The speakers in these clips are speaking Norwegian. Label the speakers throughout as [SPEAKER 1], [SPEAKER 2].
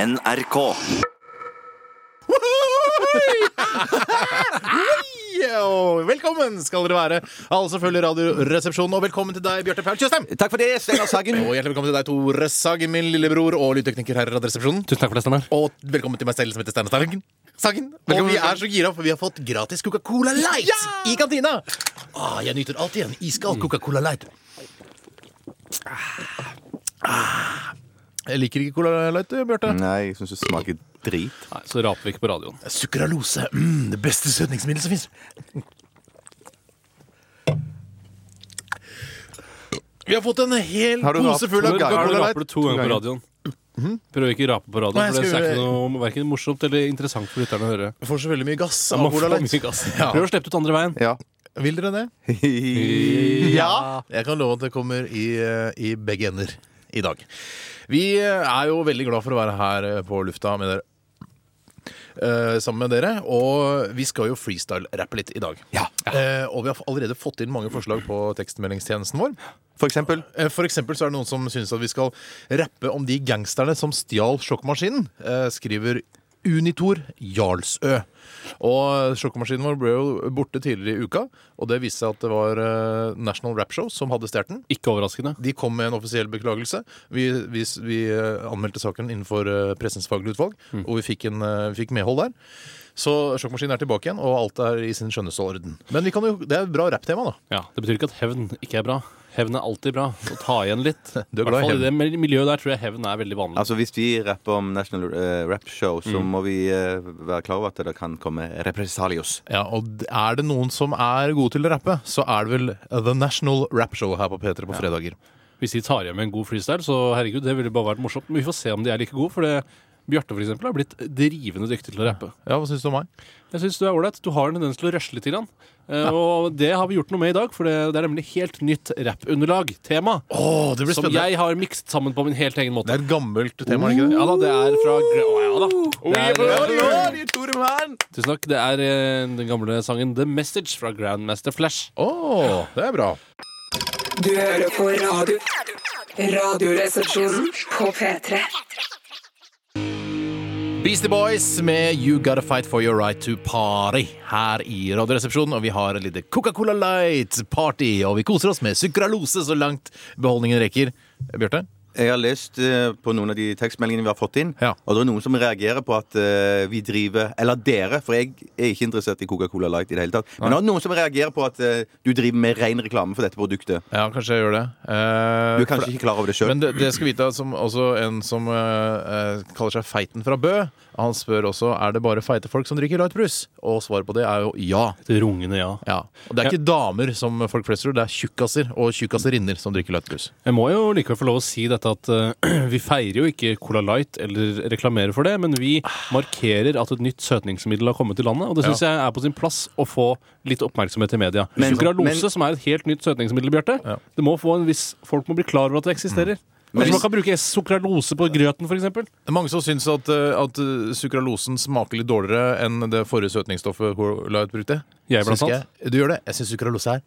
[SPEAKER 1] NRK.
[SPEAKER 2] Ja, og velkommen skal dere være, alle som følger Radioresepsjonen. Og velkommen til deg, Bjarte Paul Tjøstheim.
[SPEAKER 1] Takk for det, Steinar Sagen.
[SPEAKER 2] Og hjertelig velkommen til deg, Tore Sagen, min lillebror og lydtekniker her i Radioresepsjonen.
[SPEAKER 3] Tusen takk for det, Steinar.
[SPEAKER 2] Og velkommen til meg selv, som heter Steinar Sagen. Sagen. Og
[SPEAKER 3] Velkommen,
[SPEAKER 2] vi
[SPEAKER 3] velkommen.
[SPEAKER 2] er så gira, for vi har fått gratis Coca-Cola Light i kantina. Ah, jeg nyter alltid en iskald Coca-Cola Light. Ah. Jeg liker ikke Cola Light, Bjarte.
[SPEAKER 1] Nei, jeg syns det smaker drit.
[SPEAKER 3] Nei, så raper vi ikke på radioen.
[SPEAKER 2] Sukralose. Mm, det beste søtningsmiddelet som fins. Vi har fått en hel
[SPEAKER 1] Har du
[SPEAKER 2] pose
[SPEAKER 1] rap-
[SPEAKER 2] full
[SPEAKER 1] Hvor-
[SPEAKER 2] av
[SPEAKER 1] Mhm.
[SPEAKER 3] Her
[SPEAKER 2] Coca-Cola
[SPEAKER 3] raper
[SPEAKER 2] Light.
[SPEAKER 3] du to ganger på
[SPEAKER 1] ganger.
[SPEAKER 3] radioen. Prøv ikke å rape
[SPEAKER 2] Nei,
[SPEAKER 3] på radioen,
[SPEAKER 2] jeg
[SPEAKER 3] for det er
[SPEAKER 2] skal
[SPEAKER 3] ikke noe verken morsomt eller interessant for lytterne å høre.
[SPEAKER 2] Jeg får så veldig mye gass av
[SPEAKER 3] Man
[SPEAKER 2] Cola
[SPEAKER 3] får mye
[SPEAKER 2] Light.
[SPEAKER 3] gass.
[SPEAKER 2] Ja.
[SPEAKER 3] Prøv å slippe det ut andre veien.
[SPEAKER 1] Ja.
[SPEAKER 2] Vil dere det?
[SPEAKER 1] ja.
[SPEAKER 2] Jeg kan love at det kommer i, eh, i begge ender i dag. Vi eh, er jo veldig glad for å være her eh, på lufta med dere. eh, sammen med dere, og vi skal jo freestyle-rappe litt i dag.
[SPEAKER 1] Ja.
[SPEAKER 2] Eh, og vi har allerede fått inn mange forslag på tekstmeldingstjenesten vår.
[SPEAKER 1] For eksempel.
[SPEAKER 2] Eh, For eksempel så er det noen som synes at vi skal rappe om de gangsterne som stjal sjokkmaskinen, eh, skriver Unitor Jarlsø. Og sjokkmaskinen vår ble jo borte tidligere i uka, og det viste seg at det var eh, National Rap Show som hadde stjålet den.
[SPEAKER 3] Ikke overraskende.
[SPEAKER 2] De kom med en offisiell beklagelse. Vi, vi, vi eh, anmeldte saken innenfor eh, pressens faglige utvalg, og vi fikk, en, eh, vi fikk medhold der. Så sjokkmaskinen er tilbake igjen, og alt er i sin skjønneste orden. Men vi kan jo, det er et bra rapptema, da.
[SPEAKER 3] Ja, Det betyr ikke at hevn ikke er bra. Hevn er alltid bra. Å ta igjen litt.
[SPEAKER 2] Du er glad
[SPEAKER 3] I
[SPEAKER 2] i
[SPEAKER 3] hvert fall i det mil- miljøet der tror jeg hevn er veldig vanlig.
[SPEAKER 1] Altså, hvis vi rapper om National eh, Rap Show, så må vi eh, være klar over at det kan komme represalios.
[SPEAKER 2] Ja, og d- er det noen som er gode til å rappe, så er det vel The National Rap Show her på P3 på fredager.
[SPEAKER 1] Altså-
[SPEAKER 3] Hvis de tar hjem en god freestyle, så herregud, det ville bare vært morsomt. Men vi får se om de er like gode, for det Bjarte for eksempel, har blitt drivende dyktig til å rappe.
[SPEAKER 2] Ja, Hva syns du om meg?
[SPEAKER 3] Jeg synes Du er ålreit. Du har en tendens til å rusle litt. Grann. Eh, Og det har vi gjort noe med i dag, for det, det er nemlig helt nytt rappunderlag. Tema.
[SPEAKER 2] Oh, det blir
[SPEAKER 3] Som
[SPEAKER 2] spennende.
[SPEAKER 3] jeg har mikset sammen på min helt egen måte.
[SPEAKER 2] Det er et gammelt tema, er det ikke det?
[SPEAKER 3] Ja da, det er fra Gra- Å, ja, da. Det er, Tusen takk. Det er eh, den gamle sangen The Message fra Grandmaster Flash.
[SPEAKER 2] Åh, det er bra.
[SPEAKER 4] Du hører på radio. Radioresepsjonen på P3.
[SPEAKER 2] Beastie Boys med You Gotta Fight For Your Right To Party her i Radioresepsjonen. Og vi har et lite Coca-Cola Light-party, og vi koser oss med sukralose så langt beholdningen rekker. Bjarte?
[SPEAKER 1] Jeg har lest eh, på noen av de tekstmeldingene vi har fått inn,
[SPEAKER 2] Ja.
[SPEAKER 1] og det er noen som reagerer på at eh, vi driver Eller dere, for jeg er ikke interessert i Coca-Cola Light i det hele tatt. Men det er noen som reagerer på at eh, du driver med ren reklame for dette produktet.
[SPEAKER 2] Ja, kanskje jeg gjør det. Eh,
[SPEAKER 1] Du er kanskje ikke klar over det sjøl.
[SPEAKER 2] Men det, det skal vite at som, også en som eh, eh, kaller seg Feiten fra Bø, han spør også er det bare feite folk som drikker lightbrus. Og svaret på det er jo ja.
[SPEAKER 3] Det rungende ja.
[SPEAKER 2] ja. Og det er ikke damer som folk flest tror, det er tjukkaser og tjukkaserinner som drikker lightbrus.
[SPEAKER 3] Jeg må jo likevel få lov å si dette at eh, vi feirer jo ikke Cola Light eller reklamerer for det, men vi markerer at et nytt søtningsmiddel har kommet til landet, og det syns jeg er på sin plass å få litt oppmerksomhet i media.
[SPEAKER 1] Men-
[SPEAKER 3] Sukralose,
[SPEAKER 1] men-
[SPEAKER 3] som er et helt nytt søtningsmiddel, Bjarte, det må få en viss Folk må bli klar over at det eksisterer.
[SPEAKER 1] Men-
[SPEAKER 3] Kanskje man kan bruke sukralose på grøten, f.eks.?
[SPEAKER 2] Det er Mange som syns at, eh, at eh, sukralosen smaker litt dårligere enn det forrige søtningsstoffet Cola Light brukte.
[SPEAKER 3] Jeg, blant
[SPEAKER 2] Syns ikke
[SPEAKER 3] annet.
[SPEAKER 2] jeg. Du gjør det? Jeg syns sukralose er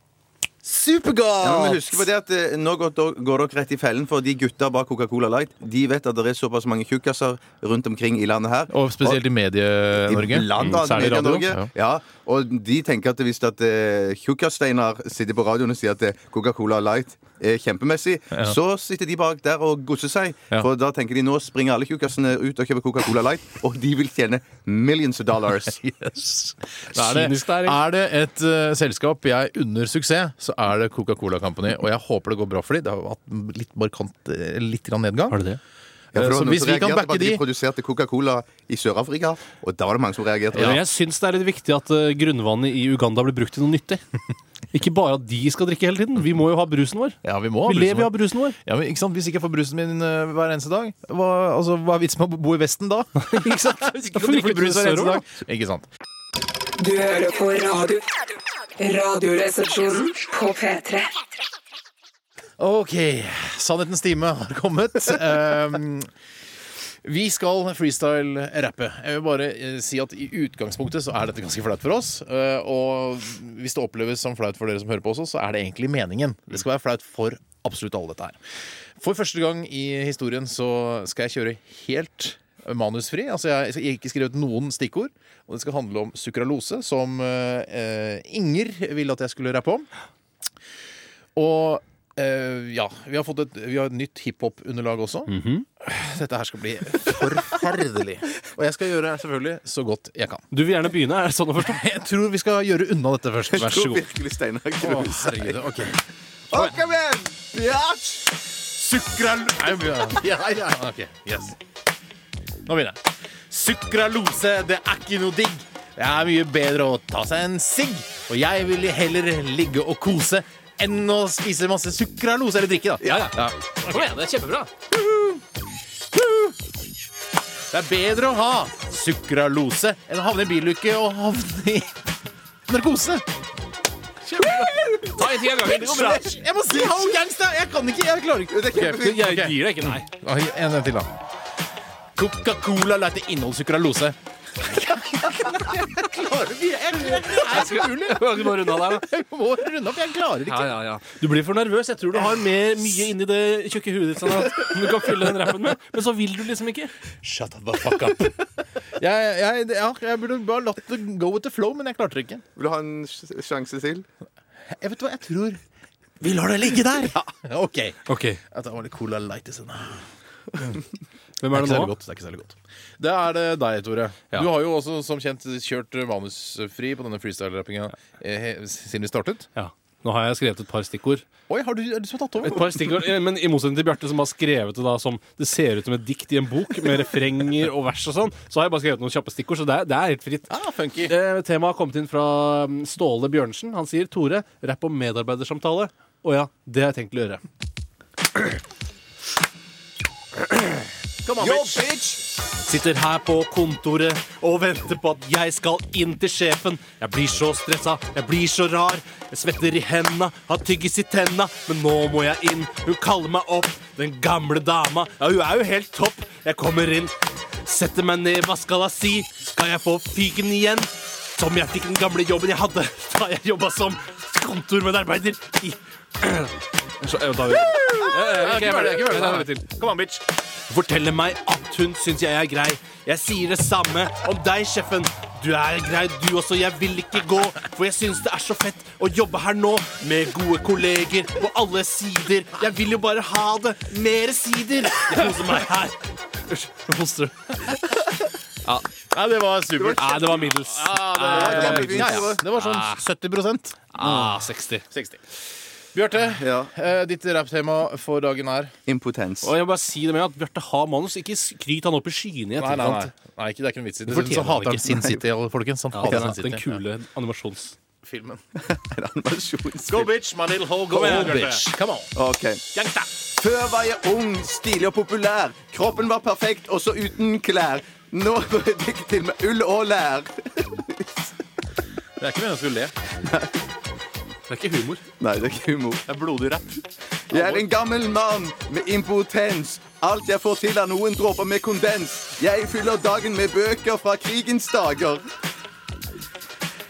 [SPEAKER 1] Ja, men
[SPEAKER 2] supergodt!
[SPEAKER 1] husk på det at eh, Nå går, går dere rett i fellen, for de gutta bak Coca-Cola Light De vet at det er såpass mange tjukkaser rundt omkring i landet her.
[SPEAKER 2] og spesielt i
[SPEAKER 1] I
[SPEAKER 2] Medie-Norge.
[SPEAKER 1] Blant
[SPEAKER 3] Mm,
[SPEAKER 1] annet
[SPEAKER 3] særlig
[SPEAKER 1] Media
[SPEAKER 3] radio.
[SPEAKER 1] Norge. Ja. Og de tenker at hvis at eh, Tjukkas-Steinar sitter på radioen og sier at eh, Coca-Cola Light er kjempemessig, så sitter de bak der og gosser seg.
[SPEAKER 2] Ja.
[SPEAKER 1] For da tenker de nå springer alle tjukkasene ut og kjøper Coca-Cola Light, og de vil tjene millions of dollars.
[SPEAKER 2] Yes. Er det,
[SPEAKER 3] Kynisk der, ikke?
[SPEAKER 2] er det et eh, selskap jeg unner suksess, så er det Coca-Cola Company. Og jeg håper det går bra for dem. Det har hatt litt markant eh, litt grann nedgang.
[SPEAKER 3] Har det det?
[SPEAKER 1] Ja, for det var
[SPEAKER 2] Så
[SPEAKER 1] noen
[SPEAKER 2] hvis
[SPEAKER 1] som
[SPEAKER 2] vi kan
[SPEAKER 1] reagerte på
[SPEAKER 2] backe
[SPEAKER 1] at de
[SPEAKER 2] de-
[SPEAKER 1] produserte Coca-Cola i Sør-Afrika, og da var det mange som reagerte. på det.
[SPEAKER 3] Men Jeg syns det er litt viktig at eh, grunnvannet i Uganda blir brukt til noe nyttig. Ikke bare at de skal drikke hele tiden. Vi må jo ha brusen vår.
[SPEAKER 2] Ja, vi må ha
[SPEAKER 3] Vi lever jo av
[SPEAKER 2] brusen vår.
[SPEAKER 3] brusen vår.
[SPEAKER 2] Ja, men ikke sant? Hvis ikke jeg får brusen min eh, hver eneste dag, hva, altså, hva er vitsen med å bo i Vesten da? ikke sant? Hvis
[SPEAKER 3] Da
[SPEAKER 2] ikke
[SPEAKER 3] får vi
[SPEAKER 2] du
[SPEAKER 3] ikke
[SPEAKER 2] får brus hver eneste
[SPEAKER 3] brus
[SPEAKER 2] dag. Ikke sant?
[SPEAKER 4] Du hører på radio. Radioresepsjonen på P3.
[SPEAKER 2] Ok, sannhetens time har kommet. Um, vi skal freestyle-rappe. Jeg vil bare eh, si at i utgangspunktet så er dette ganske flaut for oss. eh, og hvis det oppleves som flaut for dere som hører på også, så er det egentlig meningen. Det skal være flaut for absolutt alle dette her. For første gang i historien så skal jeg kjøre helt manusfri. Altså, jeg skal ikke skrevet noen stikkord. Og det skal handle om sukralose, som eh, Inger ville at jeg skulle rappe om. Og eh, ja, vi har fått et, vi har et nytt hiphop-underlag også. Dette her skal bli forferdelig. Og jeg skal gjøre selvfølgelig så godt jeg kan.
[SPEAKER 3] Du vil gjerne begynne, er det sånn å forstå?
[SPEAKER 2] Jeg tror vi skal gjøre unna dette først. Vær så
[SPEAKER 1] tror
[SPEAKER 2] god.
[SPEAKER 1] virkelig Steinar
[SPEAKER 2] Å,
[SPEAKER 1] gruer seg.
[SPEAKER 2] herregud, ok
[SPEAKER 1] Å, Kom igjen! Ja!
[SPEAKER 2] Sukralose Ja, ja, ok, yes Nå begynner jeg Sukralose, det er ikke noe digg Det er mye bedre å ta seg en sigg Og jeg vil heller ligge og kose Enn å spise masse sukralose Eller drikke da
[SPEAKER 3] Ja, ja. Kom igjen, det er kjempebra.
[SPEAKER 2] Det er bedre å ha sukralose Enn å havne i bilukke og havne i narkose
[SPEAKER 3] Ta en ting av gangen. Det går bra.
[SPEAKER 2] Jeg må si halv gangsta Jeg kan ikke, jeg klarer ikke
[SPEAKER 1] Det er kjempefint.
[SPEAKER 3] Jeg gir deg ikke, nei.
[SPEAKER 2] Oi, En en til, da. Coca-Cola lar til innhold sukralose. Jeg klarer ikke jeg-
[SPEAKER 3] Jeg skal nå runde av der, da.
[SPEAKER 2] Jeg må runde opp. Jeg klarer ikke.
[SPEAKER 3] Ja, ja, ja. Du blir for nervøs. Jeg tror du har mer, mye inni det tjukke huet ditt sånn at du kan fylle den rappen med. Men så vil du liksom ikke.
[SPEAKER 2] Shut the fuck up. Jeg, jeg, ja, jeg burde bare latt det go with the flow, men jeg klarte det ikke.
[SPEAKER 1] Vil du ha en sj- sjanse til?
[SPEAKER 2] Jeg vet hva jeg tror. Vi lar det ligge der. Ja, OK.
[SPEAKER 3] Ok,
[SPEAKER 2] Det var litt Cola Light i stedet.
[SPEAKER 3] Hvem er
[SPEAKER 2] Det
[SPEAKER 3] det
[SPEAKER 2] er
[SPEAKER 3] nå?
[SPEAKER 2] ikke særlig godt. Det er ikke særlig godt. Det er det deg, Tore.
[SPEAKER 3] Ja.
[SPEAKER 2] Du har jo også som kjent kjørt manusfri på denne freestyle-rappinga eh, he- siden vi startet.
[SPEAKER 3] Ja. Nå har jeg skrevet et par stikkord.
[SPEAKER 2] Oi, har du, er det du som har tatt over?
[SPEAKER 3] Et par stikkord, eh, Men i motsetning til Bjarte, som har skrevet det da som det ser ut som et dikt i en bok, med refrenger og vers og sånn, så har jeg bare skrevet noen kjappe stikkord, så det er, det er helt fritt.
[SPEAKER 2] Ah, funky.
[SPEAKER 3] Eh, Temaet har kommet inn fra mm, Ståle Bjørnsen. Han sier Tore, rapp om medarbeidersamtale. Å ja, det har jeg tenkt å gjøre.
[SPEAKER 2] Come on,
[SPEAKER 1] Yo,
[SPEAKER 2] bitch.
[SPEAKER 1] bitch!
[SPEAKER 3] Sitter her på kontoret og venter på at jeg skal inn til sjefen. Jeg blir så stressa, jeg blir så rar. Jeg svetter i henda, har tyggis i tenna. Men nå må jeg inn, hun kaller meg opp. Den gamle dama, ja, hun er jo helt topp. Jeg kommer inn, setter meg ned, hva skal jeg si? Skal jeg få fyken igjen? Som jeg fikk den gamle jobben jeg hadde da jeg jobba som kontormedarbeider i Så, eh, da,
[SPEAKER 2] Ja, ikke mer det, ikke mer det.
[SPEAKER 3] Da har vi til.
[SPEAKER 2] Come on, bitch.
[SPEAKER 3] forteller meg at hun syns jeg er grei. Jeg sier det samme om deg, sjefen. Du er grei, du også. Jeg vil ikke gå, for jeg syns det er så fett å jobbe her nå. Med gode kolleger på alle sider. Jeg vil jo bare ha det. Mere sider. Jeg koser meg her. Unnskyld, nå hoster du.
[SPEAKER 2] Ja, det var supert.
[SPEAKER 3] Nei, det var middels.
[SPEAKER 1] det var
[SPEAKER 2] Ja, ja. Det var sånn 70
[SPEAKER 3] Ah, 60.
[SPEAKER 2] 60. Bjarte,
[SPEAKER 1] Ja.
[SPEAKER 2] eh, ditt rapptema for dagen er
[SPEAKER 1] Impotens.
[SPEAKER 3] Og jeg må bare si det med at Bjarte har manus. Ikke skryt han opp i skyene i
[SPEAKER 2] Nei, nei, nei.
[SPEAKER 3] etterkant.
[SPEAKER 2] nei ikke, det er ikke noe vits i.
[SPEAKER 3] Det fortjener
[SPEAKER 2] Så hater
[SPEAKER 3] han
[SPEAKER 2] han
[SPEAKER 3] ikke.
[SPEAKER 2] Sin City, alle folkens. Han
[SPEAKER 3] Ja,
[SPEAKER 2] hater
[SPEAKER 3] den,
[SPEAKER 2] Sin
[SPEAKER 3] den
[SPEAKER 2] City.
[SPEAKER 3] kule animasjons...
[SPEAKER 2] Filmen.
[SPEAKER 1] En
[SPEAKER 2] Go,
[SPEAKER 1] animasjonsfilm.
[SPEAKER 2] bitch, my little hoe. Go,
[SPEAKER 3] Kom igjen,
[SPEAKER 2] Bjarte.
[SPEAKER 3] bitch.
[SPEAKER 2] Come on.
[SPEAKER 1] Ok.
[SPEAKER 3] Gangsta!
[SPEAKER 1] Før var jeg ung, stilig og populær. Kroppen var perfekt, også uten klær. Nå går jeg dekket til med ull og lær.
[SPEAKER 2] Det er ikke meningen å skulle le.
[SPEAKER 3] Det er ikke humor.
[SPEAKER 1] Nei, det er ikke humor.
[SPEAKER 2] Det er blodig rapp.
[SPEAKER 1] Jeg er en gammel mann med impotens. Alt jeg får til, er noen dråper med kondens. Jeg fyller dagen med bøker fra krigens dager.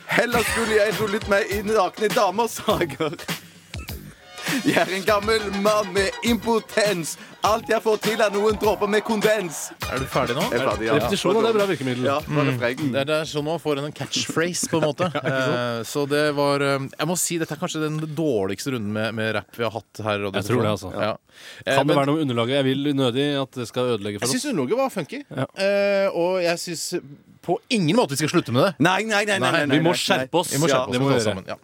[SPEAKER 1] Heller skulle jeg rullet meg i nakne damers sager. Jeg er en gammel mann med impotens. Alt jeg får til, er noen dråper med kondens.
[SPEAKER 2] Er du ferdig nå?
[SPEAKER 1] Jeg er ferdig, ja.
[SPEAKER 3] Repetisjon det er bra virkemiddel. Mm.
[SPEAKER 1] Ja, fra refrengen.
[SPEAKER 2] Det er, det er sånn nå får en catchphrase, på en måte. Eh, så det var eh, Jeg må si dette er kanskje den dårligste runden med, med rapp vi har hatt her. i Radio
[SPEAKER 3] Jeg tror det,
[SPEAKER 2] Resepsjon.
[SPEAKER 3] altså.
[SPEAKER 2] Ja. Eh,
[SPEAKER 3] Kan det
[SPEAKER 2] men-
[SPEAKER 3] være noe med underlaget? Jeg vil unødig at det skal ødelegge
[SPEAKER 2] Jeg
[SPEAKER 3] for oss.
[SPEAKER 2] syns underlaget var funky.
[SPEAKER 3] Ja.
[SPEAKER 2] Eh, og jeg syns på ingen måte vi skal slutte med det.
[SPEAKER 1] Nei, nei, nei, nei, nei, nei,
[SPEAKER 3] Vi må
[SPEAKER 1] nei, nei.
[SPEAKER 3] skjerpe oss.
[SPEAKER 2] Vi må
[SPEAKER 1] Ja,
[SPEAKER 2] skjerpe oss.
[SPEAKER 3] det må
[SPEAKER 2] alle
[SPEAKER 3] vi gjøre.
[SPEAKER 2] sammen, ja.